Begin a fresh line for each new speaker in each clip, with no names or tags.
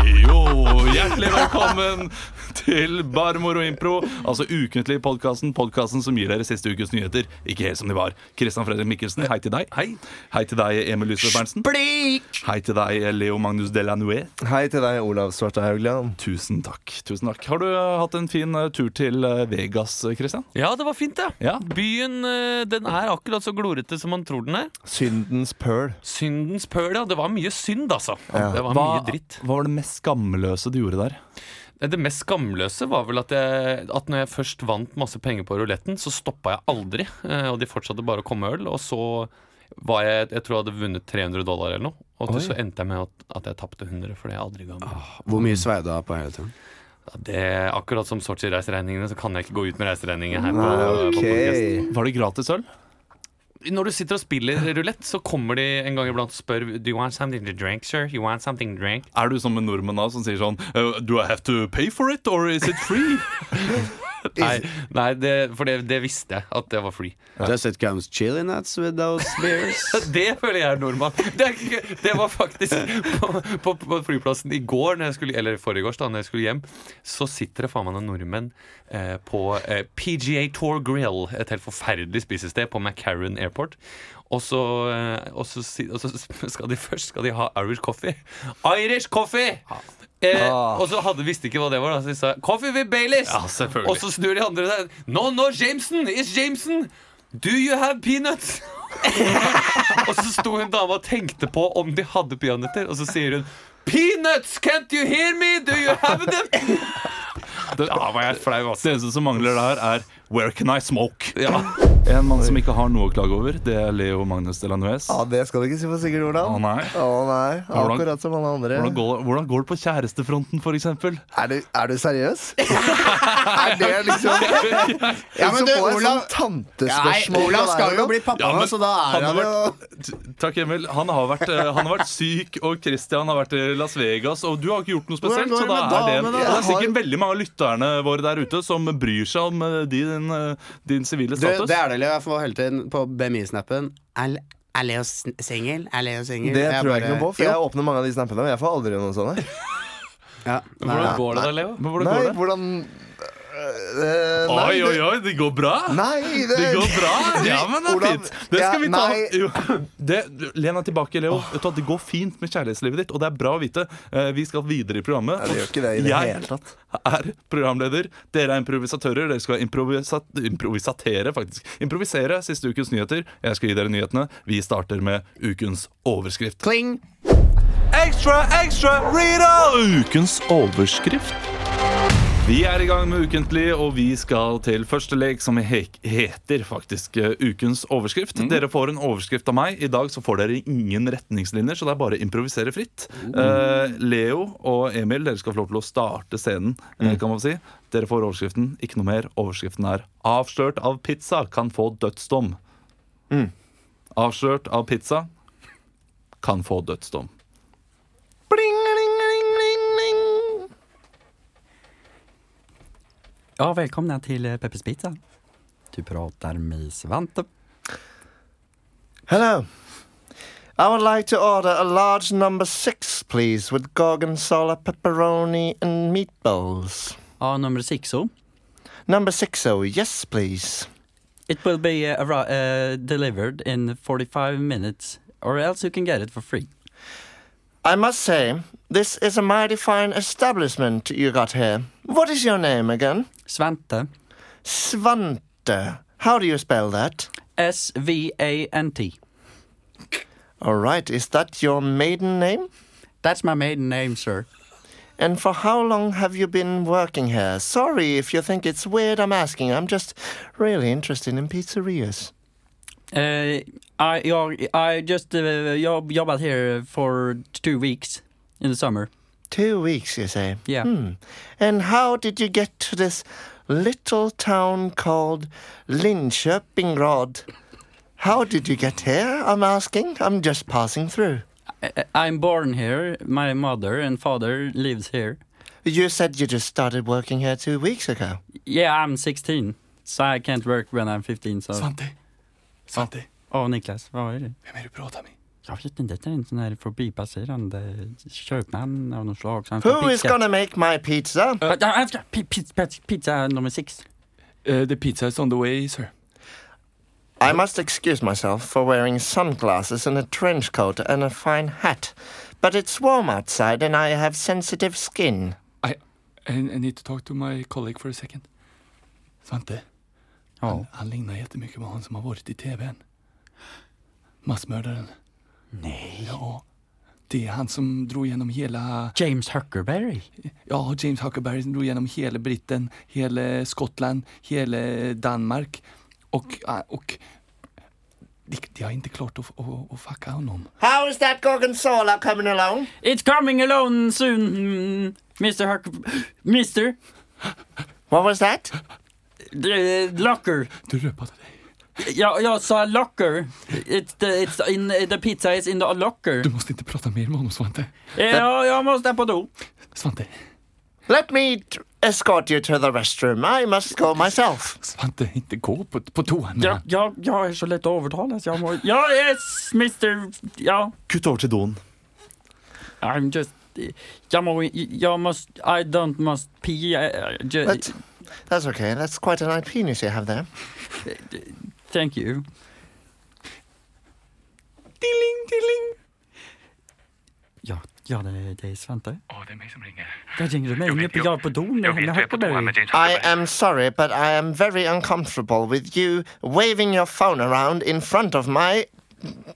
Jo, hjertelig velkommen til Barmor og Impro. Altså ukentlig podkasten, podkasten som gir dere siste ukes nyheter. Ikke helt som de var. Kristian Fredrik Mikkelsen, hei til deg. Hei. Hei til deg, Emil Lysve Berntsen. Hei til deg, Leo Magnus Delanue.
Hei til deg, Olav Svarte Haugland.
Tusen takk. Tusen takk. Har du eh, hatt en fin eh, tur til eh, Vegas, eh, Kristian?
Ja, det var fint, det.
Ja.
Byen eh, den er akkurat så glorete som man tror den er.
Syndens pøl.
Syndens pøl, ja. Det var mye synd, altså.
Ja.
Det var mye dritt. Eh,
hva var det mest skamløse du gjorde der?
Det mest skamløse var vel at, jeg, at når jeg først vant masse penger på ruletten, så stoppa jeg aldri. eh, Og de fortsatte bare å komme øl. Og så var jeg Jeg tror jeg hadde vunnet 300 dollar eller noe. Og til så endte jeg med at, at jeg tapte 100, fordi jeg aldri ga meg.
Hvor mye svei du har på hele tiden?
Ja, Det, akkurat som Sotsji-reiseregningene, så kan jeg ikke gå ut med reiseregninger her. På, på podcasten.
Ok.
Var det gratis øl?
Når du sitter og spiller rulett, så kommer de en gang iblant og spør Do you want something to drink, sir? You want something to drink?
Er du som en nordmann da, som sier sånn eh, Do I have to pay for it, or is it free?
Nei, nei det, for det, det visste jeg at det var free.
Does it comes chili nuts with those beers?
Det føler jeg er nordmann. Det, er ikke- det var faktisk på, på, på flyplassen i går, når jeg skulle, eller forrige da når jeg skulle hjem, så sitter det faen meg noen nordmenn eh, på eh, PGA Tour Grill, et helt forferdelig spisested på McCarran Airport. Og så, eh, og så, si- og så skal de først skal de ha Irish coffee. Irish coffee! Eh, og så hadde, visste ikke hva det var, da, så de sa 'Coffee with Baileys'.
Ja, selvfølgelig.
og så snur de andre seg. No, no, Jameson! It's Jameson! Do you have peanuts? Og så sto en dame og tenkte på om de hadde peanøtter, og så sier hun Peanuts, can't you hear me? Do you have them?
Det,
Da var jeg flau, altså.
det eneste som mangler der, er Where can I smoke?
Ja.
En mann som ikke har noe å klage over, det er Leo Magnus Delanues.
Ja, det skal du ikke si for sikkert, Olav.
Å, nei.
Å, nei.
Hvordan-
Akkurat som alle andre.
Hvordan går, hvordan går det på kjærestefronten, for eksempel?
Er du, er du seriøs? er det liksom
Ja, men
Så
du,
får jeg
Olav-
sånn tantespørsmål.
Olav
fra deg,
skal jo
Olav.
bli pappa nå, så da er
han har
han jo
vært, t- Takk, Emil. Han har vært, eh, han har vært syk, og Christian har vært i Las Vegas, og du har ikke gjort noe
Hvordan
spesielt, så
går
da
det med
er det en
damene,
Og
da?
det er sikkert
Har-
veldig mange av lytterne våre der ute som bryr seg om eh, din, eh, din sivile
du,
status.
Det er det, Leo. Jeg får hele tiden på BMI-snappen Er er Leo sn- singel? Er Leo singel?
Det tror jeg ikke noe på, for
Jo.
jeg åpner mange av de snappene, og jeg får aldri noen sånne.
Ja, nei,
Hvordan
nei.
går det da, Leo?
Men hvordan
Nei,
går det?
hvordan Eh, nei,
Oi, oi,
det-
oi, det går bra!
Nei, det,
Det går bra! Ja, men det er
Olav,
fint. Det skal
ja,
vi ta.
nei.
Jo, det, len deg tilbake, Leo. Vet du hva, det går fint med kjærlighetslivet ditt, og det er bra å vite. Eh, Vi skal videre i programmet.
Nei, det gjør ikke det i det
Jeg
hele tatt.
er programleder. Dere er improvisatører. Dere skal improvisa improvisatere, faktisk. Improvisere siste ukens nyheter. Jeg skal gi dere nyhetene. Vi starter med ukens overskrift.
Kling!
Ekstra, ekstra, Rita! Ukens overskrift. Vi er i gang med Ukentlig, og vi skal til første lek, som he heter faktisk eh, Ukens overskrift. Dere får en overskrift av meg. I dag så får dere ingen retningslinjer, så det er bare å improvisere fritt. Eh, Leo og Emil, dere skal få lov til å starte scenen, eh, kan man si. Dere får overskriften, ikke noe mer. Overskriften er 'Avslørt av pizza kan få dødsdom'. Avslørt av pizza kan få dødsdom.
Ja, välkomna till eh, Peppers Pizza. Du pratar med Svante.
Hello. I would like to order a large number six, please, with gorgonzola, pepperoni, and meatballs.
Ja, nummer six. oh.
Number six, oh, yes, please.
It will be eh, arri- eh, delivered in 45 minutes or else you can get it for free.
I must say, this is a mighty fine establishment you got here. What is your name again?
Svante.
Svante. How do you spell that?
S-V-A-N-T.
All right, is that your maiden name?
That's my maiden name, sir.
And for how long have you been working here? Sorry if you think it's weird I'm asking. I'm just really interested in pizzerias.
Uh, I, jag, I just uh, job, jobbat here for two weeks in the summer.
Two weeks, you say?
Yeah.
Hmm. And how did you get to this little town called Linköpingrad? How did you get here? I'm asking. I'm just passing through.
I, Eh, I'm born here. My mother and father lives here.
You said you just started working here two weeks ago.
Yeah, I'm 16, so I can't work when I'm 15. So.
Santi. Santi.
Åh, Niklas, vad är det?
Vem är det du pratar med?
Jag vet inte, det är en sånn sån här förbipasserande köpman av något slag. Så han får
Who is
pizza.
gonna make my pizza?
Uh, I- I've got pi- pi- pi- Pizza nummer six.
the Eh, pizza is on the way, sir.
I must excuse myself for wearing sunglasses and a trench coat and a fine hat. But it's warm outside and I have sensitive skin.
I, I I need to talk to my colleague for a second. Svante,
Ja.
han, han lignar jättemycket på han som har varit i TVn. Massmördaren.
Nej.
Ja. Det är han som drog igenom hela,
James Huckerberry.
ja James Huckerberry som drog igenom hela Britten, hela Skottland, hela Danmark. Och, ah, och de, de har inte klart att, att, att fucka honom.
How is that gorgonzola coming along?
It's coming alone soon, mm, Mr Huck... Mr...
What was that?
eh, locker.
Du röpade dig.
Jag, jag sa locker. It's the, it's in, the pizza is in the locker.
Du måste inte prata mer med honom Svante.
Ja, jag måste på do.
Svante,
Let me t- escort you to the restroom. I must go myself.
Svante inte gå på, på toan med
Jag,
han.
jag, jag är så lätt att övertala så jag må... Ja, yes, Mr... Ja.
Kutt over til doen.
I'm just... Jag må... Jag måste... I don't must pee. I, I ju-
But that's okay. That's quite a nice penis you have there.
Thank you.
Dilling, dilling.
Ja, ja det, det är Svante.
Åh, det är mig som ringer.
Där ringer du mig. Nu är jag på don. Jag vill Huckerberry.
I am sorry, but I am very uncomfortable with you waving your phone around in front of my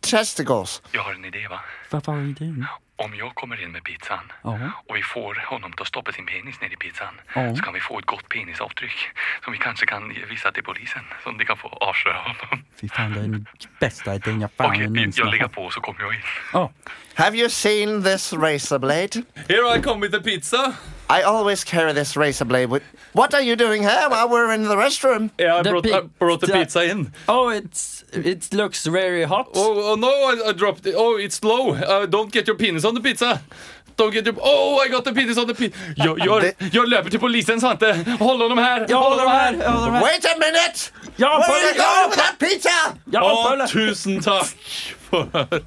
testicles.
Jag har en idé va?
Vad var idén?
Om jag kommer in med pizzan
Ja.
och vi får honom att stoppa sin penis ner i pizzan
Ja.
så kan vi få ett gott penisavtryck som vi kanske kan ge- visa till polisen som de kan få avslöja honom.
Fy fan, det är den bästa idén jag fan
Okej,
någonsin
jag lägger
har.
på så kommer jag in.
Ja.
Have you seen this razor blade?
Here I come with the pizza.
I always carry this razor blade with. What are you doing here while we're in the restroom?
Yeah, I
The
brought, I
pi-
brought the
the-
pizza in.
Oh, it's, it looks very hot.
Oh, oh, no, I, I dropped it. Oh, it's low. Uh, don't get your penis on the pizza. Don't get your... Oh, I got the penis on the pizza. Jag, jag, jag löper till polisen, Svante. Håll honom här.
Jag
Håll
håller
honom här.
med! Jag håller med!
Wait a minute!
Jag
Where are you
håller
going
med!
with that pizza?
Jag
Å,
håller
tusen takk for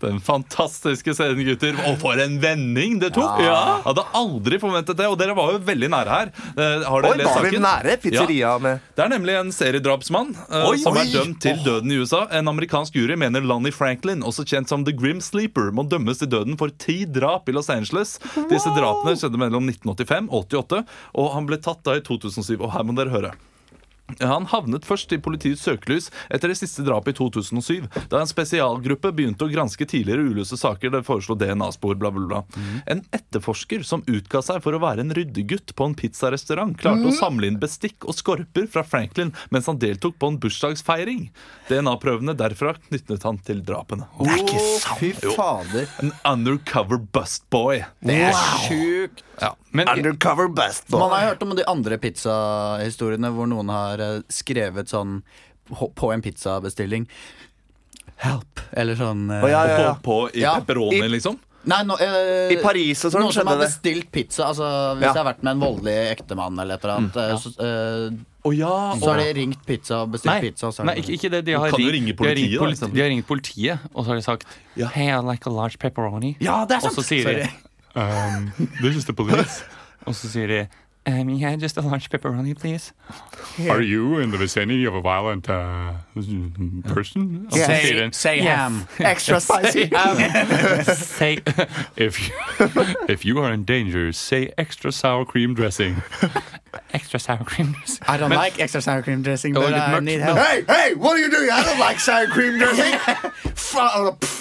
den fantastiske scenen, gutter. Og for en vending det tok! Jeg hadde aldri forventet det, og dere var jo veldig nære her. Eh, Har dere
Oi,
lest
var vi
saken?
nære pizzeria med
Det er nemlig en seriedrapsmann eh,
Oi,
som
oi.
er dømt til døden i USA. En amerikansk jury mener Lonnie Franklin, også kjent som The Grim Sleeper, må dømmes til døden for ti drap i Los Angeles. Disse drapene skjedde mellom 1985 og 88, og han ble tatt da i 2007. Og her må dere høre. Han havnet først i politiets søkelys etter det siste drapet i 2007, da en spesialgruppe begynte å granske tidligere uløste saker. Det foreslo DNA-spor, bla, bla, bla. En etterforsker som utga seg for å være en ryddegutt på en pizzarestaurant, klarte å samle inn bestikk og skorper fra Franklin mens han deltok på en bursdagsfeiring. DNA-prøvene derfra knyttet han til drapene.
Fy fader.
En undercover bust boy.
Det er sjukt.
Undercover best
Man har jo hørt om de andre pizzahistoriene hvor noen har eh, skrevet sånn på på en pizzabestilling. Help. Eller sånn eh,
Å, ja, ja.
På, på i
Ja,
pepperoni,
i-
liksom.
Nei, nå, eh,
I Paris og sånn
Noen som
skjedde
har
det.
bestilt pizza. Altså, hvis
Ja. Mm.
det har vært med en voldelig ektemann eller et eller annet, eh, så, eh,
Å ja.
så har de ringt pizza og bestilt
Nei,
pizza. Og så har
nei
de-
ikke, ikke det. De har,
kan jo
ringt,
ringe
de har ringt
politiet, da,
politi-
liksom.
de har ringt politiet, og så har de sagt Hey, I like a large pepperoni.
Ja, det
Og så sier de um, This is the police. og så sier de um, Yeah, just a large pepperoni, please.
Are you in the vicinity of a violent uh, person?
Og så sier hun
Say ham.
Extra spicy.
Say
If you, if you are in danger, say extra sour cream dressing.
extra sour cream. dressing."
I don't like extra sour cream dressing,
Det var
but
litt
I
mørkt,
need
men-
help.
hey, hey, what are you doing? I don't like sour cream dressing. Fa- oh, pff.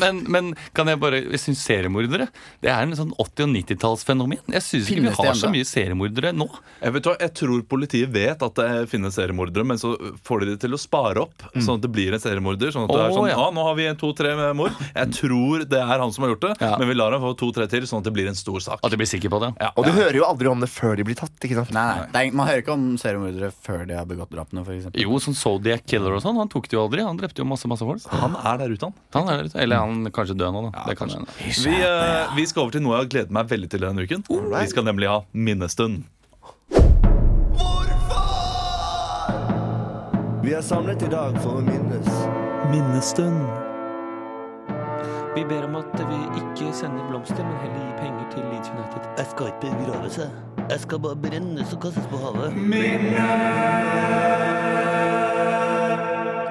Men, men kan jeg bare Jeg syns seriemordere Det er en sånn 80- og 90-tallsfenomen. Jeg syns ikke vi
Finnes det
har så
enda?
mye seriemordere nå.
Jeg, Eh, vet, hva, jeg tror politiet vet at det finnes seriemordere, men så får de det til å spare opp. Sånn at det blir en seriemorder. Sånn at det er
Mm. Å,
sånn,
ja.
ah, nå har vi en to-tre med mord. Jeg tror det er han som har gjort det,
Ja.
men vi lar ham få to-tre til, sånn at det blir en stor sak.
At jeg blir sikker på det.
Ja.
Og du hører jo aldri om det før de blir tatt. ikke sant?
Nei, nei, det er, Man hører ikke om seriemordere før de har begått drapene, f.eks.
Jo, sånn Zodiac Killer og sånn. Han tok det jo aldri. Han drepte jo masse masse folk.
Han er der ute, han.
Han er, eller han kanskje død nå, da. det kan
kanskje.
hende.
Vi, eh, vi skal over til noe jeg har gledet meg veldig til denne uken. Vi skal nemlig ha minnestund.
Vi er samlet i dag for å minnes.
Minnestund.
Vi ber om at vi ikke sender blomster, men heller gir penger til Leeds United.
Jeg skal ikke begravelse. Jeg skal bare brennes og kastes på havet.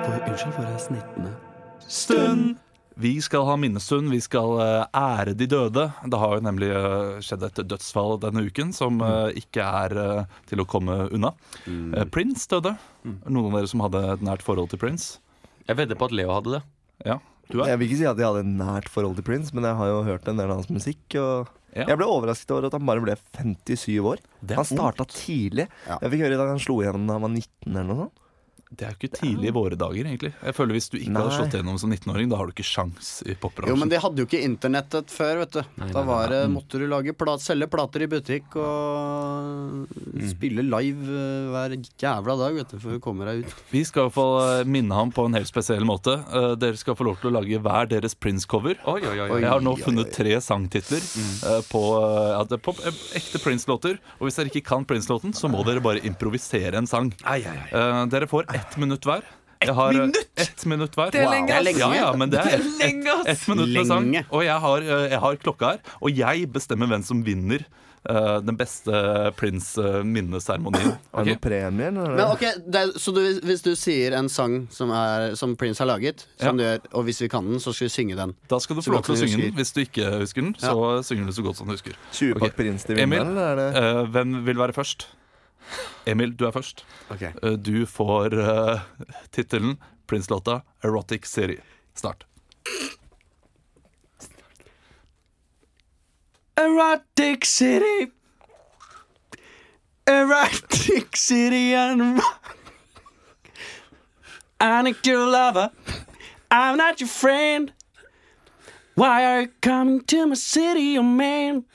For, unnskyld for jeg snittene.
Stund! Vi skal ha minnestund, vi skal eh, ære de døde. Det har jo nemlig eh, skjedd et dødsfall denne uken som eh, ikke er eh, til å komme unna. Eh, Prince døde. Noen av dere som hadde et nært forhold til Prince?
Jeg vedder på at Leo hadde det.
Ja, du er?
Jeg vil ikke si at jeg hadde et nært forhold til Prince, men jeg har jo hørt en del av hans musikk. Og
Ja.
Jeg ble overrasket over at han bare ble 57 år.
Det er
Han starta tidlig.
Ja.
Jeg fikk høre i dag han slo igjennom da han var 19 eller noe sånt.
Det er jo ikke tidlig i våre dager, egentlig. Jeg føler Hvis du ikke hadde
Nei.
slått gjennom som 19-åring, da har du ikke sjans i
Jo, men
popbransjen.
de hadde jo ikke internettet før, vet du. Da var
Mm.
det, måtte du lage plat, selge plater i butikk og
Mm.
spille live eh, hver jævla dag, vet du, før du kommer deg ut.
Vi skal i hvert fall eh, minne ham på en helt spesiell måte. Eh, Dere skal få lov til å lage hver deres Prince-cover.
Oi, oi, oi.
Jeg har nå funnet tre sangtitler eh, på, eh, ja, det er på eh, ekte Prince-låter. Og hvis dere ikke kan Prince-låten, så må dere bare improvisere en sang.
Ai, ai, ai.
Eh, dere får ett minutt hver. Jeg har, eh, ett minutt hver.
er Wow. lenge, ass. Det er lenge.
Ja, ja, men det er ett ett minutt med sang.
Lenge.
Og jeg har, eh, jeg har klokka her. Og jeg bestemmer hvem som vinner eh, den beste eh, Prince-minneseremonien.
Er det noen premie? eller?
Men ok, det er, Så du, hvis du sier en sang som, er, som Prince har laget, som du gjør, og hvis vi kan den, så skal vi synge den.
Da skal du
Så
få lov til å
godt du
synge den.
husker.
Hvis du ikke husker den, så synger du så godt som du husker.
20 pakk
Ok.
Prince til
Emil?
vinneren, eller er det
Eh, hvem vil være først? Emil, du er først.
Ok.
Eh, Du får uh, tittelen Prince-låta 'Erotic City'. Start.
Erotic City. Erotic City and I need your lover. I'm not your friend. Why are you coming to my city, oh man?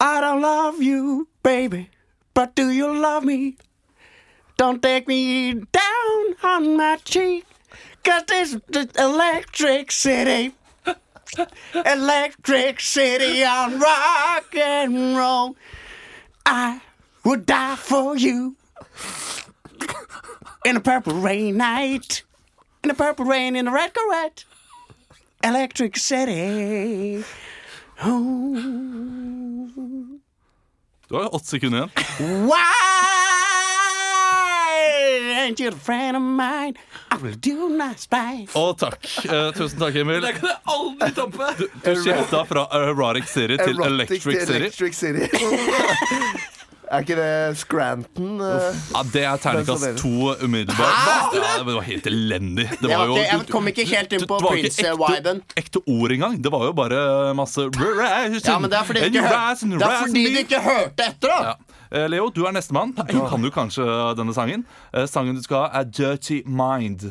I don't love you, baby, but do you love me? Don't take me down on my cheek, cause this is the electric city. Electric City on rock and roll. I would die for you. In a purple rain night. In a purple rain in a red correct. Electric City.
Du har åtte sekunder igjen.
Why ain't you a friend of mine? I will do my spice.
Å, takk. Eh, tusen takk, Emil. Det kan jeg aldri toppe. Du, du skifta fra Erotic City til
Erotic
Electric
til
City.
Electric City. er ikke det Scranton? eh?
Ja, det er
Den
terningkast
som
to umiddelbart. Ja, men det var helt elendig. Det var jo
Jeg, jeg kom ikke helt inn
Det
på
var ikke
eh,
Prince-viben.
ekte, ekte ord engang. Det var jo bare masse
Ja, men det er fordi du ikke, hør, det er fordi du ikke hørte etter, da!
ja. Eh, Leo, du er nestemann. Du kan jo kanskje denne sangen. Eh, Sangen du skal ha, er Dirty Mind.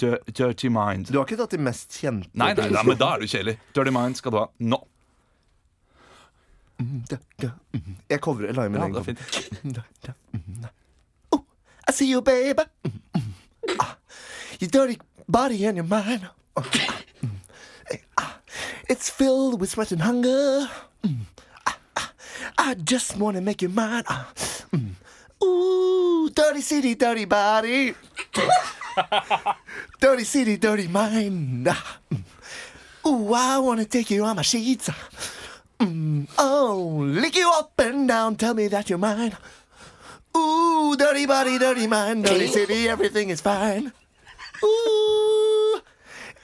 Dir- Dirty Mind.
Du har ikke tatt de mest kjente?
Nei, nei, nei, men da er du kjedelig. Dirty Mind skal du ha nå.
Jeg covrer. Jeg la min
Ja,
egen
det er
cover.
fint.
Oh, I see you, baby. Mm, mm. Ah, Your dirty body and your mind. Oh, ah, mm. Eh, ah, It's filled with sweat and hunger. Mm. Ah, ah, I just want to make you mine. Ah, mm. Ooh, dirty city, dirty body. dirty city, dirty mind. Ah, mm. Ooh, I want to take you on my sheets. Ah, mm. Oh, lick you up and down. Tell me that you're mine. Ooh, dirty body, dirty mind, dirty city, everything is fine. Ooh,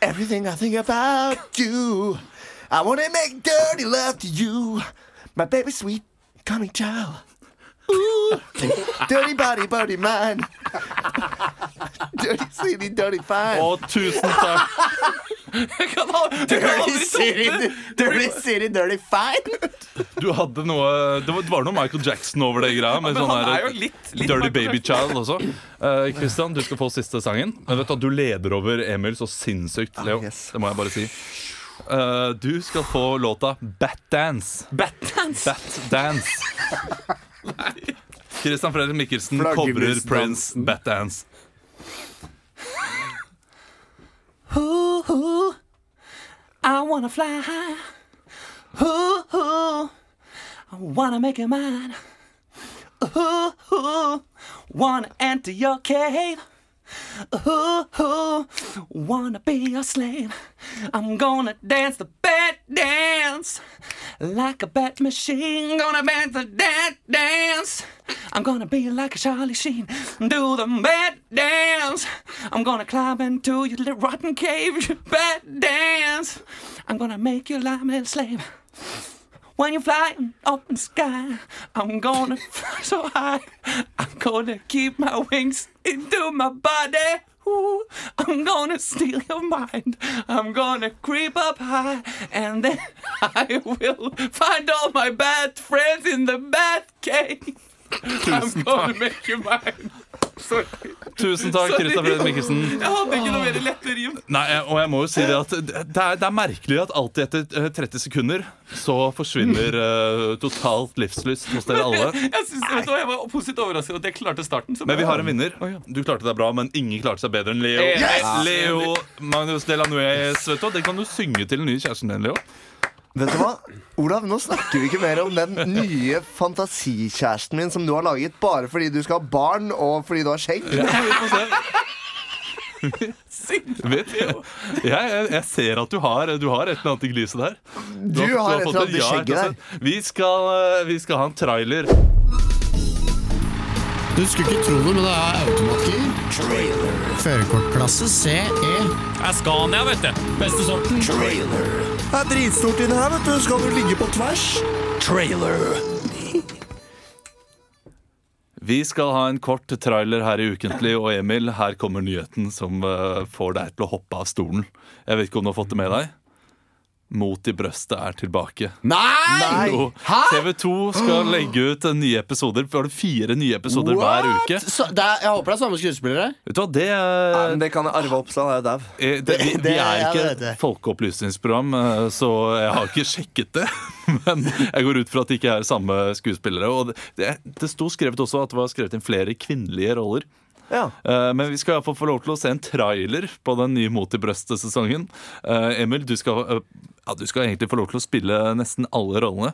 everything I think about you. I wanna make dirty love to you, my baby sweet coming child.
Ooh, dirty body, body mine. Dirty city, dirty fine.
Å, tusen takk.
Dirty city, dirty city, dirty fine.
Du hadde noe Det var, det var noe Michael Jackson over det greia. Med
Men
sånn
han
her-
er jo litt- litt
Dirty
Michael
Baby Child også. Eh, Christian, du skal få siste sangen. Men vet Du at du leder over Emil så sinnssykt, Leo.
Ah,
yes.
Det må jeg bare si. Eh, du skal få låta Batdance. Batdance? Batdance. Christian Fredrik Mikkelsen covrer
Flaggermusdansen.
Prince Batdance.
Ooh, ooh, I wanna fly high. Ooh, ooh, I wanna make it mine. Ooh, ooh, wanna enter your cave. Ooh, ooh, wanna be a slave. I'm gonna dance the bat dance like a bat machine. Gonna dance the bat dance. I'm gonna be like a Charlie Sheen. Do the bat dance. I'm gonna climb into your little rotten cave. You Bat dance. I'm gonna make you a little slave. When you're flying up in the sky, I'm gonna fly so high. I'm gonna keep my wings into my body. Ooh, I'm gonna steal your mind. I'm gonna creep up high, and then I will find all my bad friends in the bat cave. I'm gonna make you mine. Sorry.
Tusen takk,
Sorry.
Christian Fredrik Mikkelsen.
Jeg hadde ikke noe mer lette rim.
Nei, jeg- og jeg må jo si det at det er, det er merkelig at alltid etter eh, 30 sekunder så forsvinner eh, totalt livslyst hos dere alle.
Jeg, synes, vet du, hva, jeg var positivt overrasket at jeg klarte starten. så
Men vi
bra.
har en vinner. Du klarte deg bra, men ingen klarte seg bedre enn Leo. Leo Magnus Delanuez, vet du. hva, Den kan du synge til den nye kjæresten din, Leo.
Vet du hva? Olav, nå snakker vi ikke mer om den nye fantasikjæresten min som du har laget bare fordi du skal ha barn og fordi du har skjegg.
Vet du? Jeg, jeg, jeg ser at du har, du har et eller annet i gliset der.
Du har et eller annet i skjegget der.
Vi skal, eh, vi skal ha en trailer.
Du skulle ikke tro det, men det er automatgir. Førerkortklasse CE. Det er Scania, vet du. Beste sorten.
Det er dritstort inni her, vet du. Skal du ligge på tvers?
Vi skal ha en kort trailer her i Ukentlig, og Emil, her kommer nyheten som eh, får deg til å hoppe av stolen. Jeg vet ikke om du har fått det med deg? Mot i brøstet er tilbake.
Nei!
Jo, TV 2 skal legge ut eh, nye episoder. Vi har det fire nye episoder hver uke.
Så, det er, jeg håper det er samme skuespillere.
Vet du hva, det,
Nei,
eh,
men det kan jeg arve opp, så han er jo dau.
eh, det, vi,
det-
vi er
jeg
ikke
vet
et
det.
folkeopplysningsprogram, eh, så jeg har ikke sjekket det. Men jeg går ut fra at det ikke er samme skuespillere. Og det, det, det sto skrevet også at det var skrevet inn flere kvinnelige roller.
Ja.
Eh, Men vi skal i hvert fall få lov til å se en trailer på den nye Mot i brøstet-sesongen. Eh, Emil, du skal, eh, ja, du skal egentlig få lov til å spille nesten alle rollene.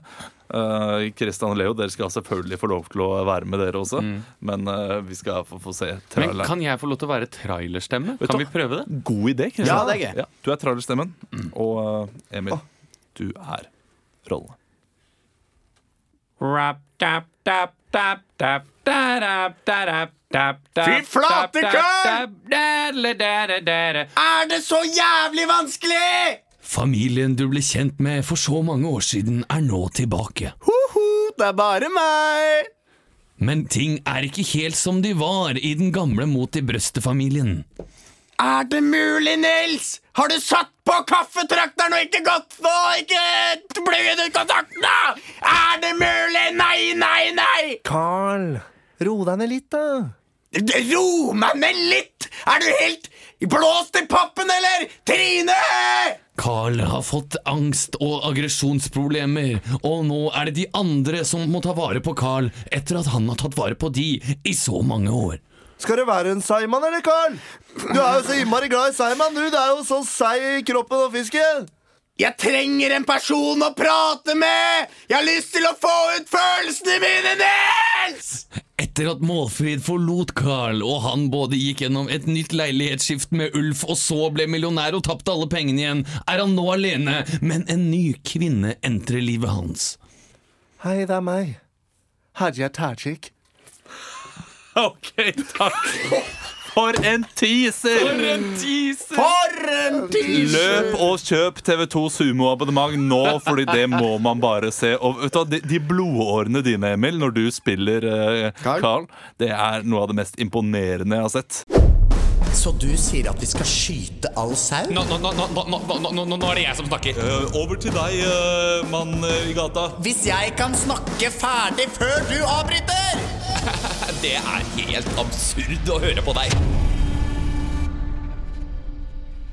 Eh, Kristian og Leo, dere skal selvfølgelig få lov til å være med dere også.
Mm.
Men eh, vi skal få, få se
Men
traileren.
kan jeg få lov til å være trailerstemme?
Vet
Kan
du-
vi prøve det?
God idé, Kristian.
Ja, det er gøy.
du er trailerstemmen. Og eh, Emil, du er rollene.
Fy flate, kar!
Er det så jævlig vanskelig?!
Familien du ble kjent med for så mange år siden, er nå tilbake.
Det er bare meg!
Men ting er ikke helt som de var i den gamle Mot i brøstet-familien.
Er det mulig, Nils? Har du satt på kaffetrakteren og ikke gått på ikke bløyd ut kontakten, da? Er det mulig? Nei, nei, nei!
Carl, ro deg ned litt, da.
Ro meg ned litt! Er du helt blåst i pappen, eller? Trine!
Carl har fått angst og aggresjonsproblemer, og nå er det de andre som må ta vare på Carl etter at han har tatt vare på de i så mange år.
Skal det være en seigmann, eller, Carl? Du er jo så innmari glad i seigmann, du. Det er jo så seig i kroppen og fisken.
Jeg trenger en person å prate med! Jeg har lyst til å få ut følelsene mine, Nils!
Etter at Målfrid forlot Carl, og han både gikk gjennom et nytt leilighetsskift med Ulf og så ble millionær og tapte alle pengene igjen, er han nå alene, men en ny kvinne entrer livet hans.
Hei, det er meg. Hadia Tajik.
OK, takk For en teaser!
For en teaser! For en
Løp og kjøp TV2 Sumo-abonnement nå, Fordi det må man bare se. Og vet du, hva, de, de blodårene dine, Emil, når du spiller eh, Carl. det er noe av det mest imponerende jeg har sett.
Så du sier at vi skal skyte all sau?
Nå, nå, nå, nå, nå, nå, nå, nå, nå er det jeg som snakker.
over til deg,
eh,
mann i gata.
Hvis jeg kan snakke ferdig før du avbryter!
Det er helt absurd å høre på deg.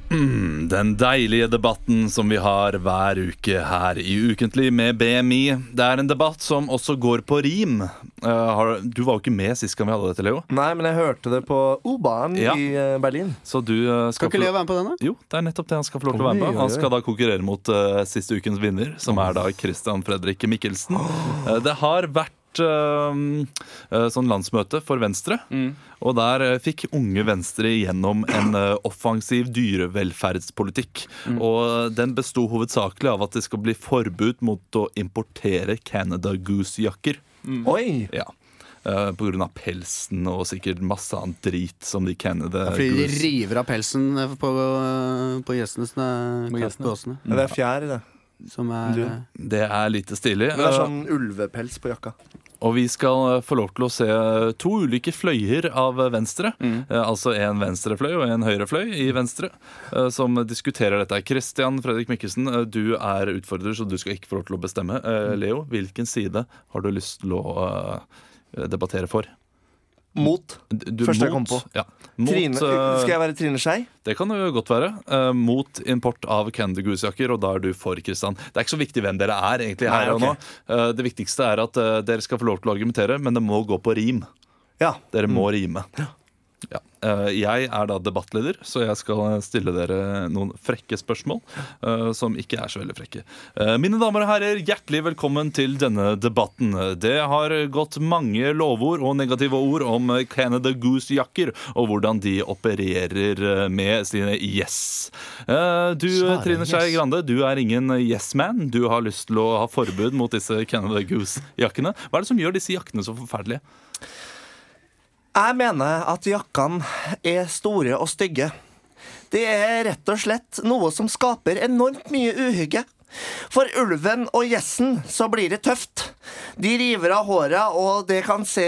Mm, den deilige debatten som vi har hver uke her i Ukentlig med BMI. Det er en debatt som også går på rim. Eh, har, du var jo ikke med sist gang vi hadde dette, Leo.
Nei, men jeg hørte det på O-banen
Ja.
i eh, Berlin.
Så du eh, skal
Skal ikke
få-
Leo være med på den, da?
Jo, det er nettopp det han skal få lov til å være
Oi,
med på.
oi,
Han
oi.
skal da konkurrere mot eh, siste ukens vinner, som er da Christian Fredrik Mikkelsen. Eh, det har vært eh, eh, sånn landsmøte for Venstre,
Mm.
og der eh, fikk Unge Venstre gjennom en eh, offensiv dyrevelferdspolitikk.
Mm.
Og den besto hovedsakelig av at det skal bli forbud mot å importere Canada Goose-jakker.
Oi!
Ja. Eh, På grunn av pelsen og sikkert masse annen drit som de Canada
Fordi de
Goose
river av pelsen
eh,
på, på gjessene. som er
På
klart
gjessene.
På åsene.
Ja, det er
fjær i det.
Som er
eh,
Du. Det er lite stilig.
Det er sånn ulvepels på jakka.
Og vi skal eh, få lov til å se to ulike fløyer av eh, Venstre.
Mm.
Eh, Altså en venstrefløy og en høyrefløy i Venstre, eh, som diskuterer dette. Kristian Fredrik Mikkelsen, eh, du er utfordrer, så du skal ikke få lov til å bestemme.
Mm.
Eh, Leo, hvilken side har du lyst til å eh, debattere for?
Mot.
D- du-
Første jeg kom
mot-
på.
ja. Mot,
Trine,
eh,
skal jeg være Trine Skei?
Det kan det jo godt være. Eh, mot import av Candy Goose-jakker, og da er du for, Kristian. Det er ikke så viktig hvem dere er egentlig her
Nei,
og nå. Eh, det viktigste er at eh, dere skal få lov til å argumentere, men det må gå på rim. Dere må rime. Ja. Eh, jeg er da debattleder, så jeg skal stille dere noen frekke spørsmål. eh, som ikke er så veldig frekke. Eh, mine damer og herrer, hjertelig velkommen til denne debatten. Det har gått mange lovord og negative ord om Canada Goose-jakker, og hvordan de opererer eh, med sine yes. Eh, du,
Svare
Trine Skei
yes.
Grande, du er ingen yes-man. Du har lyst til å ha forbud mot disse Canada Goose-jakkene. Hva er det som gjør disse jakkene så forferdelige?
Jeg mener at jakkene er store og stygge. Det er rett og slett noe som skaper enormt mye uhygge. For ulven og gjessen så blir det tøft. De river av håra, og det kan se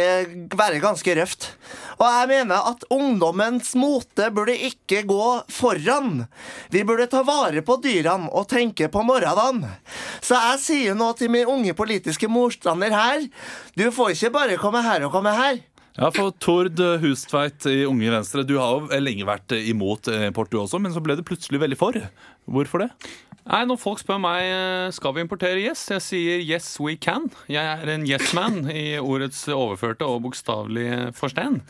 være ganske røft. Og jeg mener at ungdommens mote burde ikke gå foran. Vi burde ta vare på dyrene og tenke på morgendagen. Så jeg sier nå til min unge politiske motstander her, du får ikke bare komme her og komme her.
Ja, for Tord Hustveit i Unge Venstre, du har jo lenge vært imot eh, import du også, men så ble du plutselig veldig for. Hvorfor det?
Nei, Når folk spør meg eh, skal vi importere yes, jeg sier yes we can. Jeg er en yes man i ordets overførte og bokstavelige forstand.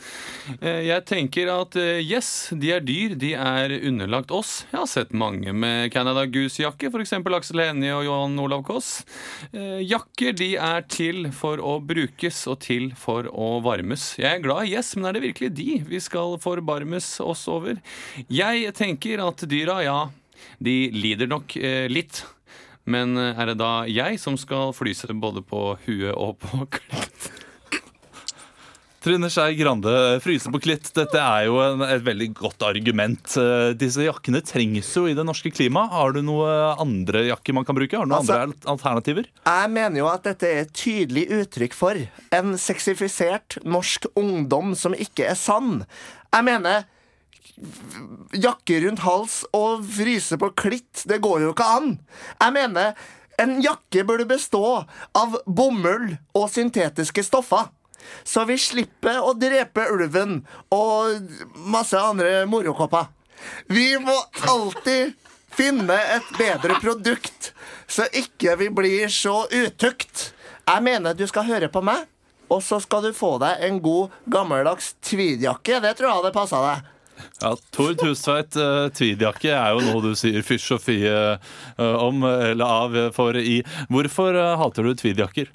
Eh, Jeg tenker at eh, yes, de er dyr, de er underlagt oss. Jeg har sett mange med Canada Goose-jakke, f.eks. Aksel Hennie og Johan Olav Koss. Eh, Jakker de er til for å brukes og til for å varmes. Jeg er glad i yes, men er det virkelig de vi skal forbarmes oss over? Jeg tenker at dyra, ja. De lider nok eh, litt. Men eh, er det da jeg som skal flyse både på huet og på kledd?
Trine Skei Grande, fryse på klitt. Dette er jo en, et veldig godt argument. Eh, Disse jakkene trengs jo i det norske klimaet. Har du noen andre jakker man kan bruke? Har du noen
Altså-
andre al- alternativer?
Jeg mener jo at dette er et tydelig uttrykk for en sexifisert norsk ungdom som ikke er sann. Jeg mener jakke rundt hals og fryse på klitt, det går jo ikke an. Jeg mener en jakke burde bestå av bomull og syntetiske stoffer. Så vi slipper å drepe ulven og masse andre morokopper. Vi må alltid finne et bedre produkt, så ikke vi blir så utukt. Jeg mener du skal høre på meg, og så skal du få deg en god, gammeldags tweedjakke. Det tror jeg hadde passa deg.
Ja, Tord Hustveit, eh, tweedjakke er jo noe du sier fysj og fie eh, om, eh, eller av, eh, for i. Hvorfor eh, hater du tweedjakker?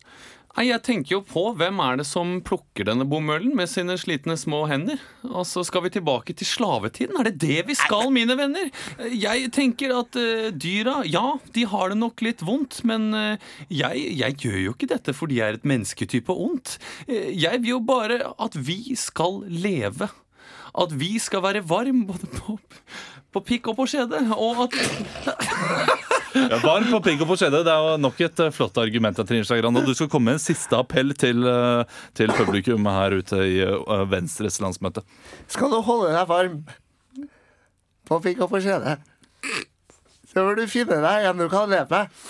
Nei, Jeg tenker jo på hvem er det som plukker denne bomullen med sine slitne små hender? Og så skal vi tilbake til slavetiden? Er det det vi skal, mine venner? Eh, Jeg tenker at eh, dyra, ja, de har det nok litt vondt, men eh, jeg, jeg gjør jo ikke dette fordi jeg er et mennesketype ondt. Eh, jeg vil jo bare at vi skal leve. at vi skal være varm både på, på pikk og på skjede, og at
Ja, varm på pigg og på skjede. Det er jo nok et eh, flott argument. av Trine Skei Grande. Og Du skal komme med en siste appell til, eh, til publikum her ute i eh, Venstres landsmøte.
Skal du holde deg varm på pikk og på kjede, så vil du finne deg en du kan leve med.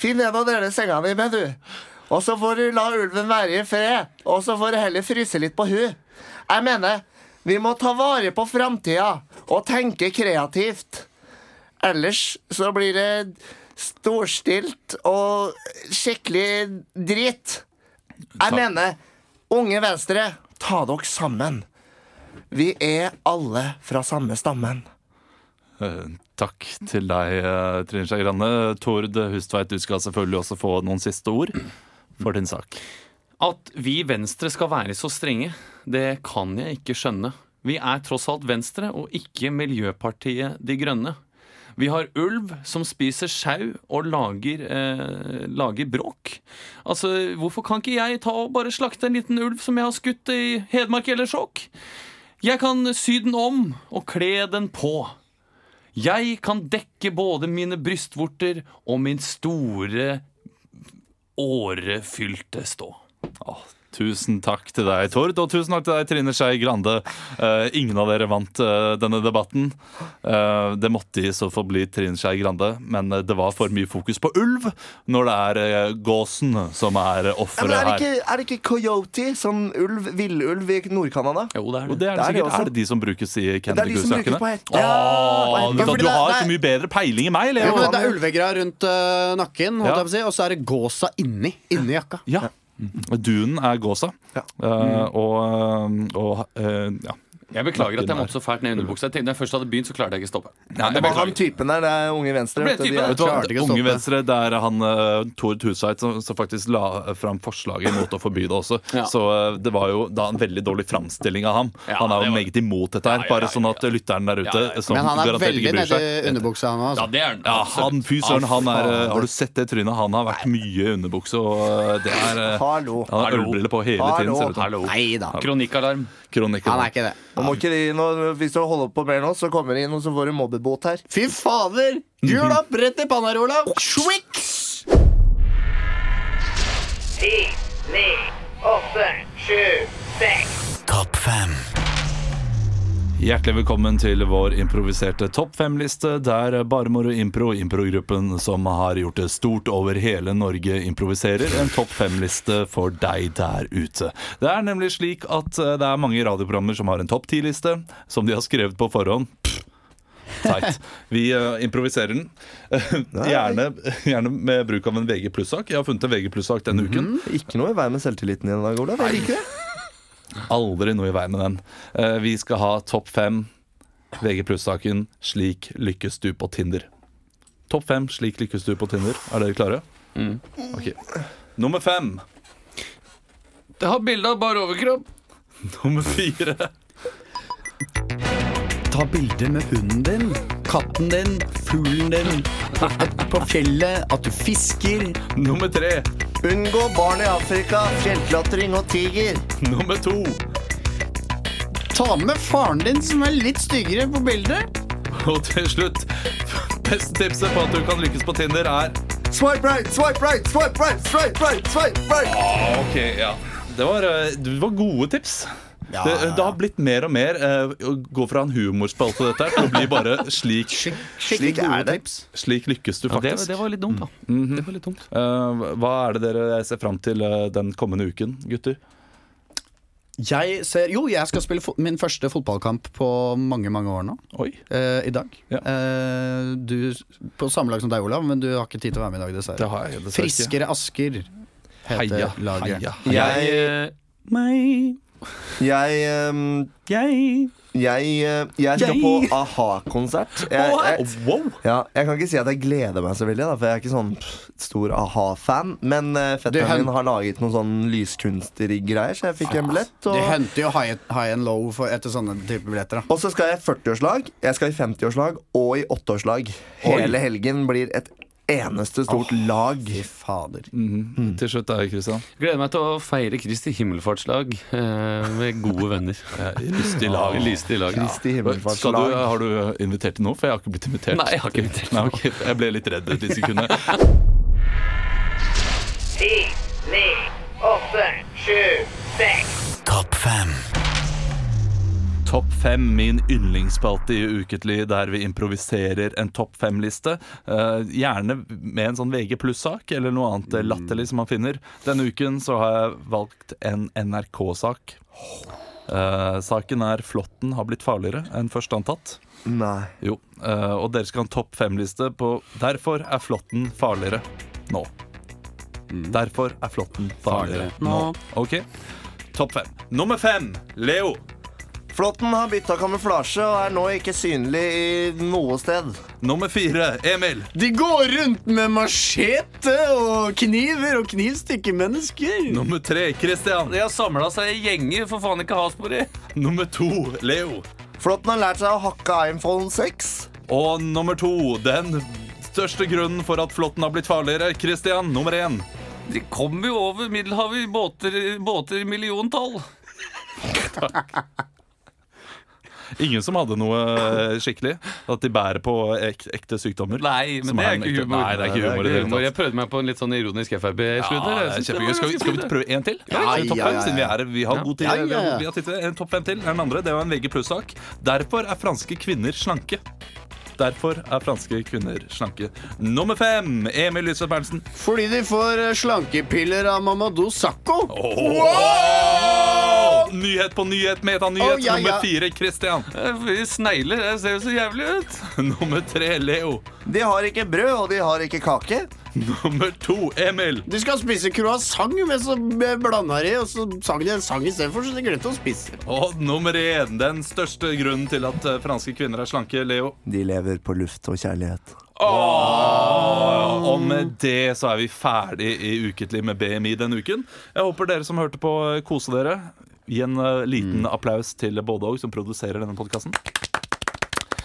Finn en å dele senga di med, du. Og så får du la ulven være i fred, og så får du heller fryse litt på hu. Jeg mener, vi må ta vare på framtida og tenke kreativt. Ellers så blir det storstilt og skikkelig dritt. Jeg mener, Unge Venstre, ta dere sammen. Vi er alle fra samme stammen.
Eh, Takk til deg, eh, Trine Skei Grande. Tord Hustveit, du skal selvfølgelig også få noen siste ord for din sak.
At vi i Venstre skal være så strenge, det kan jeg ikke skjønne. Vi er tross alt Venstre og ikke Miljøpartiet De Grønne. Vi har ulv som spiser sau og lager, eh, lager bråk. Altså, Hvorfor kan ikke jeg ta og bare slakte en liten ulv som jeg har skutt i Hedmark eller Skjåk? Jeg kan sy den om og kle den på. Jeg kan dekke både mine brystvorter og min store årefylte stå.
Tusen takk til deg, Tord, og tusen takk til deg, Trine Skei Grande. Eh, ingen av dere vant eh, denne debatten. Eh, det måtte i så fall bli Trine Skei Grande, men eh, det var for mye fokus på ulv når det er eh, gåsen som er eh,
Ja, men
offeret
er, det
her.
ikke, er det ikke coyote, sånn ulv, villulv i Nord-Canada?
Jo, det
Og det er, det sikkert,
også.
er det de som brukes i
er de
Candy
som brukes
Goose-sakene?
på hett-
Åh,
Ja, på hett-
vet du,
Ja, fordi
du
det-
har
det er-
så mye bedre peiling enn meg,
Ja,
Leo!
men det er ulvegreia rundt øh, nakken, holdt jeg på å si, og så er det gåsa inni. Inni jakka.
Ja. Dunen er gåsa. Eh, og og eh, ja.
Jeg beklager at jeg
Nakken
måtte så fælt ned i underbuksa. Jeg tenkte når jeg først hadde begynt, så klarte jeg ikke å stoppe.
Nei,
Jeg
det var
beklager.
Han typen der, det er Unge Venstre.
Det ble
vet du, de
typen.
er-
Vet du hva,
klarte ikke å
sånn
Unge
stoppe.
Venstre, det er han uh, Tord Husveit som, som faktisk la fram forslaget mot å forby det også. Så eh, det var jo da en veldig dårlig framstilling av ham. han er jo meget imot dette her, bare sånn at lytteren der ute som
Men han er
garantert
veldig
ikke bryr
nedi
seg.
underbuksa, han òg.
det er
Ja, han, fy søren, han er eh, Har du sett det trynet? Han har vært mye i underbukse, og eh, det er eh,
Hallo.
Han har ølbriller på hele tiden, ser det ut som.
Neida.
Kronikkalarm.
Kronikkalarm.
ikke det.
Nå må ikke de, nå, hvis du holder på mer nå, så kommer det inn, og så får du mobbebot her.
Fy fader!
Mhm.
Hjul opp rett i panna, Olav! Swick!
Ti, ni, åtte, sju, seks.
Topp fem. Hjertelig velkommen til vår improviserte topp fem-liste, der Barmor og Impro, improgruppen som har gjort det stort over hele Norge, improviserer en topp fem-liste for deg der ute. Det er nemlig slik at eh, det er mange radioprogrammer som har en topp ti-liste, som de har skrevet på forhånd. Pff, Teit. Vi eh, improviserer den. gjerne, gjerne med bruk av en VG pluss-sak. Jeg har funnet en VG pluss-sak denne uken.
Ikke noe i veien med selvtilliten din i dag, Olav. Jeg liker det.
Aldri noe i veien med den. Eh, vi skal ha topp fem VG pluss-saken 'Slik lykkes du på Tinder'. Topp fem 'Slik lykkes du på Tinder'. Er dere klare? Ok. Nummer fem.
Det har bilde av bar overkropp.
Nummer fire.
Ta bilder med hunden din, katten din, fuglen din. At- På fjellet, at du fisker.
Nummer tre.
Unngå barn i Afrika, fjellklatring og tiger.
Nummer to.
Ta med faren din, som er litt styggere på bildet.
Og til slutt, beste tipset på at du kan lykkes på Tinder, er
Swipe right, swipe right, swipe right, swipe right, swipe right.
Ah, Ok, ja det var, eh, det var gode tips det, det har blitt mer og mer eh, Å gå fra en humorspalte til dette her Til å bli bare slik
slik er det.
Slik lykkes du
Ja, det,
faktisk
det var litt dumt, da.
Mhm.
Det var litt dumt.
Eh, Hva er det dere ser frem til eh, den kommende uken, gutter?
Jeg ser, jo, jeg skal spille fo min første fotballkamp på mange mange år nå.
Oi.
Eh, I dag. Eh, du, på samme lag som deg, Olav, men du har ikke tid til å være med i dag, dessverre.
Det har jeg dessverre ikke.
Friskere Asker heter
Heia,
laget.
heia,
Jeg,
eh,
meg.
Jeg ehm, Jeg, eh, jeg skal
Jeg.
på a-ha-konsert. Jeg, jeg, ja, jeg kan ikke si at jeg gleder meg så veldig, da, for jeg er ikke sånn pff, stor a-ha-fan. Men eh,
Du,
fetteren
hun-
min har laget noen sånn lyskunstgreier, så jeg fikk en billett.
De
Og,
hunter jo high, high and low for, etter sånne type billetter. Da.
og så skal jeg i 40-årslag, jeg skal i 50-årslag og i 8-årslag. Hele helgen blir et eneste stort lag.
Fader.
Mm. Til slutt da, Kristian.
Gleder meg til å feire Kristi himmelfartslag eh, med gode venner.
Lyst i lag.
Lyst i lag.
Kristi himmelfartslag. Skal du, har du invitert til noe? For jeg har ikke blitt invitert.
Nei, jeg har ikke invitert
Nei, ok. Jeg ble litt redd et lite sekund.
Ti, ni, åtte, sju, seks.
Topp fem. Topp fem, min yndlingsspalte i Uketlig, der vi improviserer en topp fem-liste. Eh, gjerne med en sånn VG pluss-sak eller noe annet eh, latterlig som man finner. Denne uken så har jeg valgt en NRK-sak. Eh, saken er 'Flåtten har blitt farligere enn først antatt'.
Nei.
Jo, eh, Og dere skal ha en topp fem-liste på 'Derfor er flåtten farligere nå'. Derfor er flåtten Mm. farligere
Farligere
nå.
nå.
Ok, Topp fem. Nummer fem, Leo.
Flåtten har bytta kamuflasje og er nå ikke synlig i noe sted.
Nummer fire, Emil.
De går rundt med machete og kniver og knivstikker mennesker.
Nummer tre, Christian.
De har samla seg i gjenger, for faen ikke hasbord i.
Nummer to, Leo.
Flåtten har lært seg å hakke iPhone 6.
Og nummer to, den største grunnen for at flåtten har blitt farligere, Christian. Nummer én.
De kommer jo over Middelhavet i båter, båter i milliontall.
Ingen som hadde noe eh, skikkelig? At de bærer på ek ekte sykdommer?
Nei, men
Som
det er
en
ikke
ekte-
humor.
Nei, det er ikke humor i det hele tatt.
Jeg prøvde meg på en litt sånn ironisk FRB-slutt.
Ja, det er kjempegøy. Skal vi, skal vi prøve en til?
Ja,
en topp
ja,
fem,
ja,
siden vi,
ja.
er, vi har
Ja.
god tid.
Ja, ja,
Vi har,
ja.
vi har tid til det. En topp fem til. Her er Den andre det var en VG pluss-sak. Derfor er franske kvinner slanke. Derfor er franske kvinner slanke. Nummer fem, Emil Lysvedt Berntsen.
Fordi de får eh, slankepiller av Mamadou Sakko.
Wow! Nyhet på nyhet, metanyhet.
Å, ja, ja.
Nummer fire, Christian.
Snegler det ser jo så jævlig ut.
Nummer tre, Leo.
De har ikke brød, og de har ikke kake.
Nummer to, Emil.
De skal spise croissant, men så blanda de, og så sang de en sang istedenfor, så de glemte å spise.
Og nummer én, den største grunnen til at eh, franske kvinner er slanke, Leo.
De lever på luft og kjærlighet.
Åh, Og med det så er vi ferdig i Uketlig med BMI denne uken. Jeg håper dere som hørte på, eh, koser dere. Gi en eh, liten applaus til både og som produserer denne podkasten.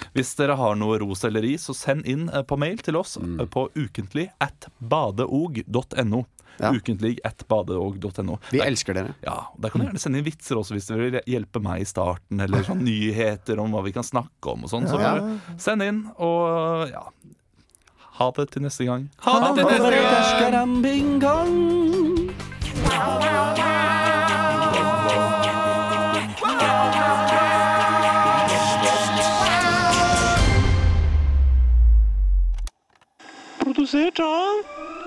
Hvis dere har noe ros eller ris, så send inn eh, på mail til oss eh, på ukentlig at badeog.no. Ukentlig at badeog.no.
Vi elsker dere.
Ja, og Der kan du gjerne sende inn vitser også hvis dere vil hjelpe meg i starten, eller sånn nyheter om hva vi kan snakke om og sånn. Så
Ja.
bare send inn, og ja Ha det til neste gang.
Ha det neste gang.
Produsert av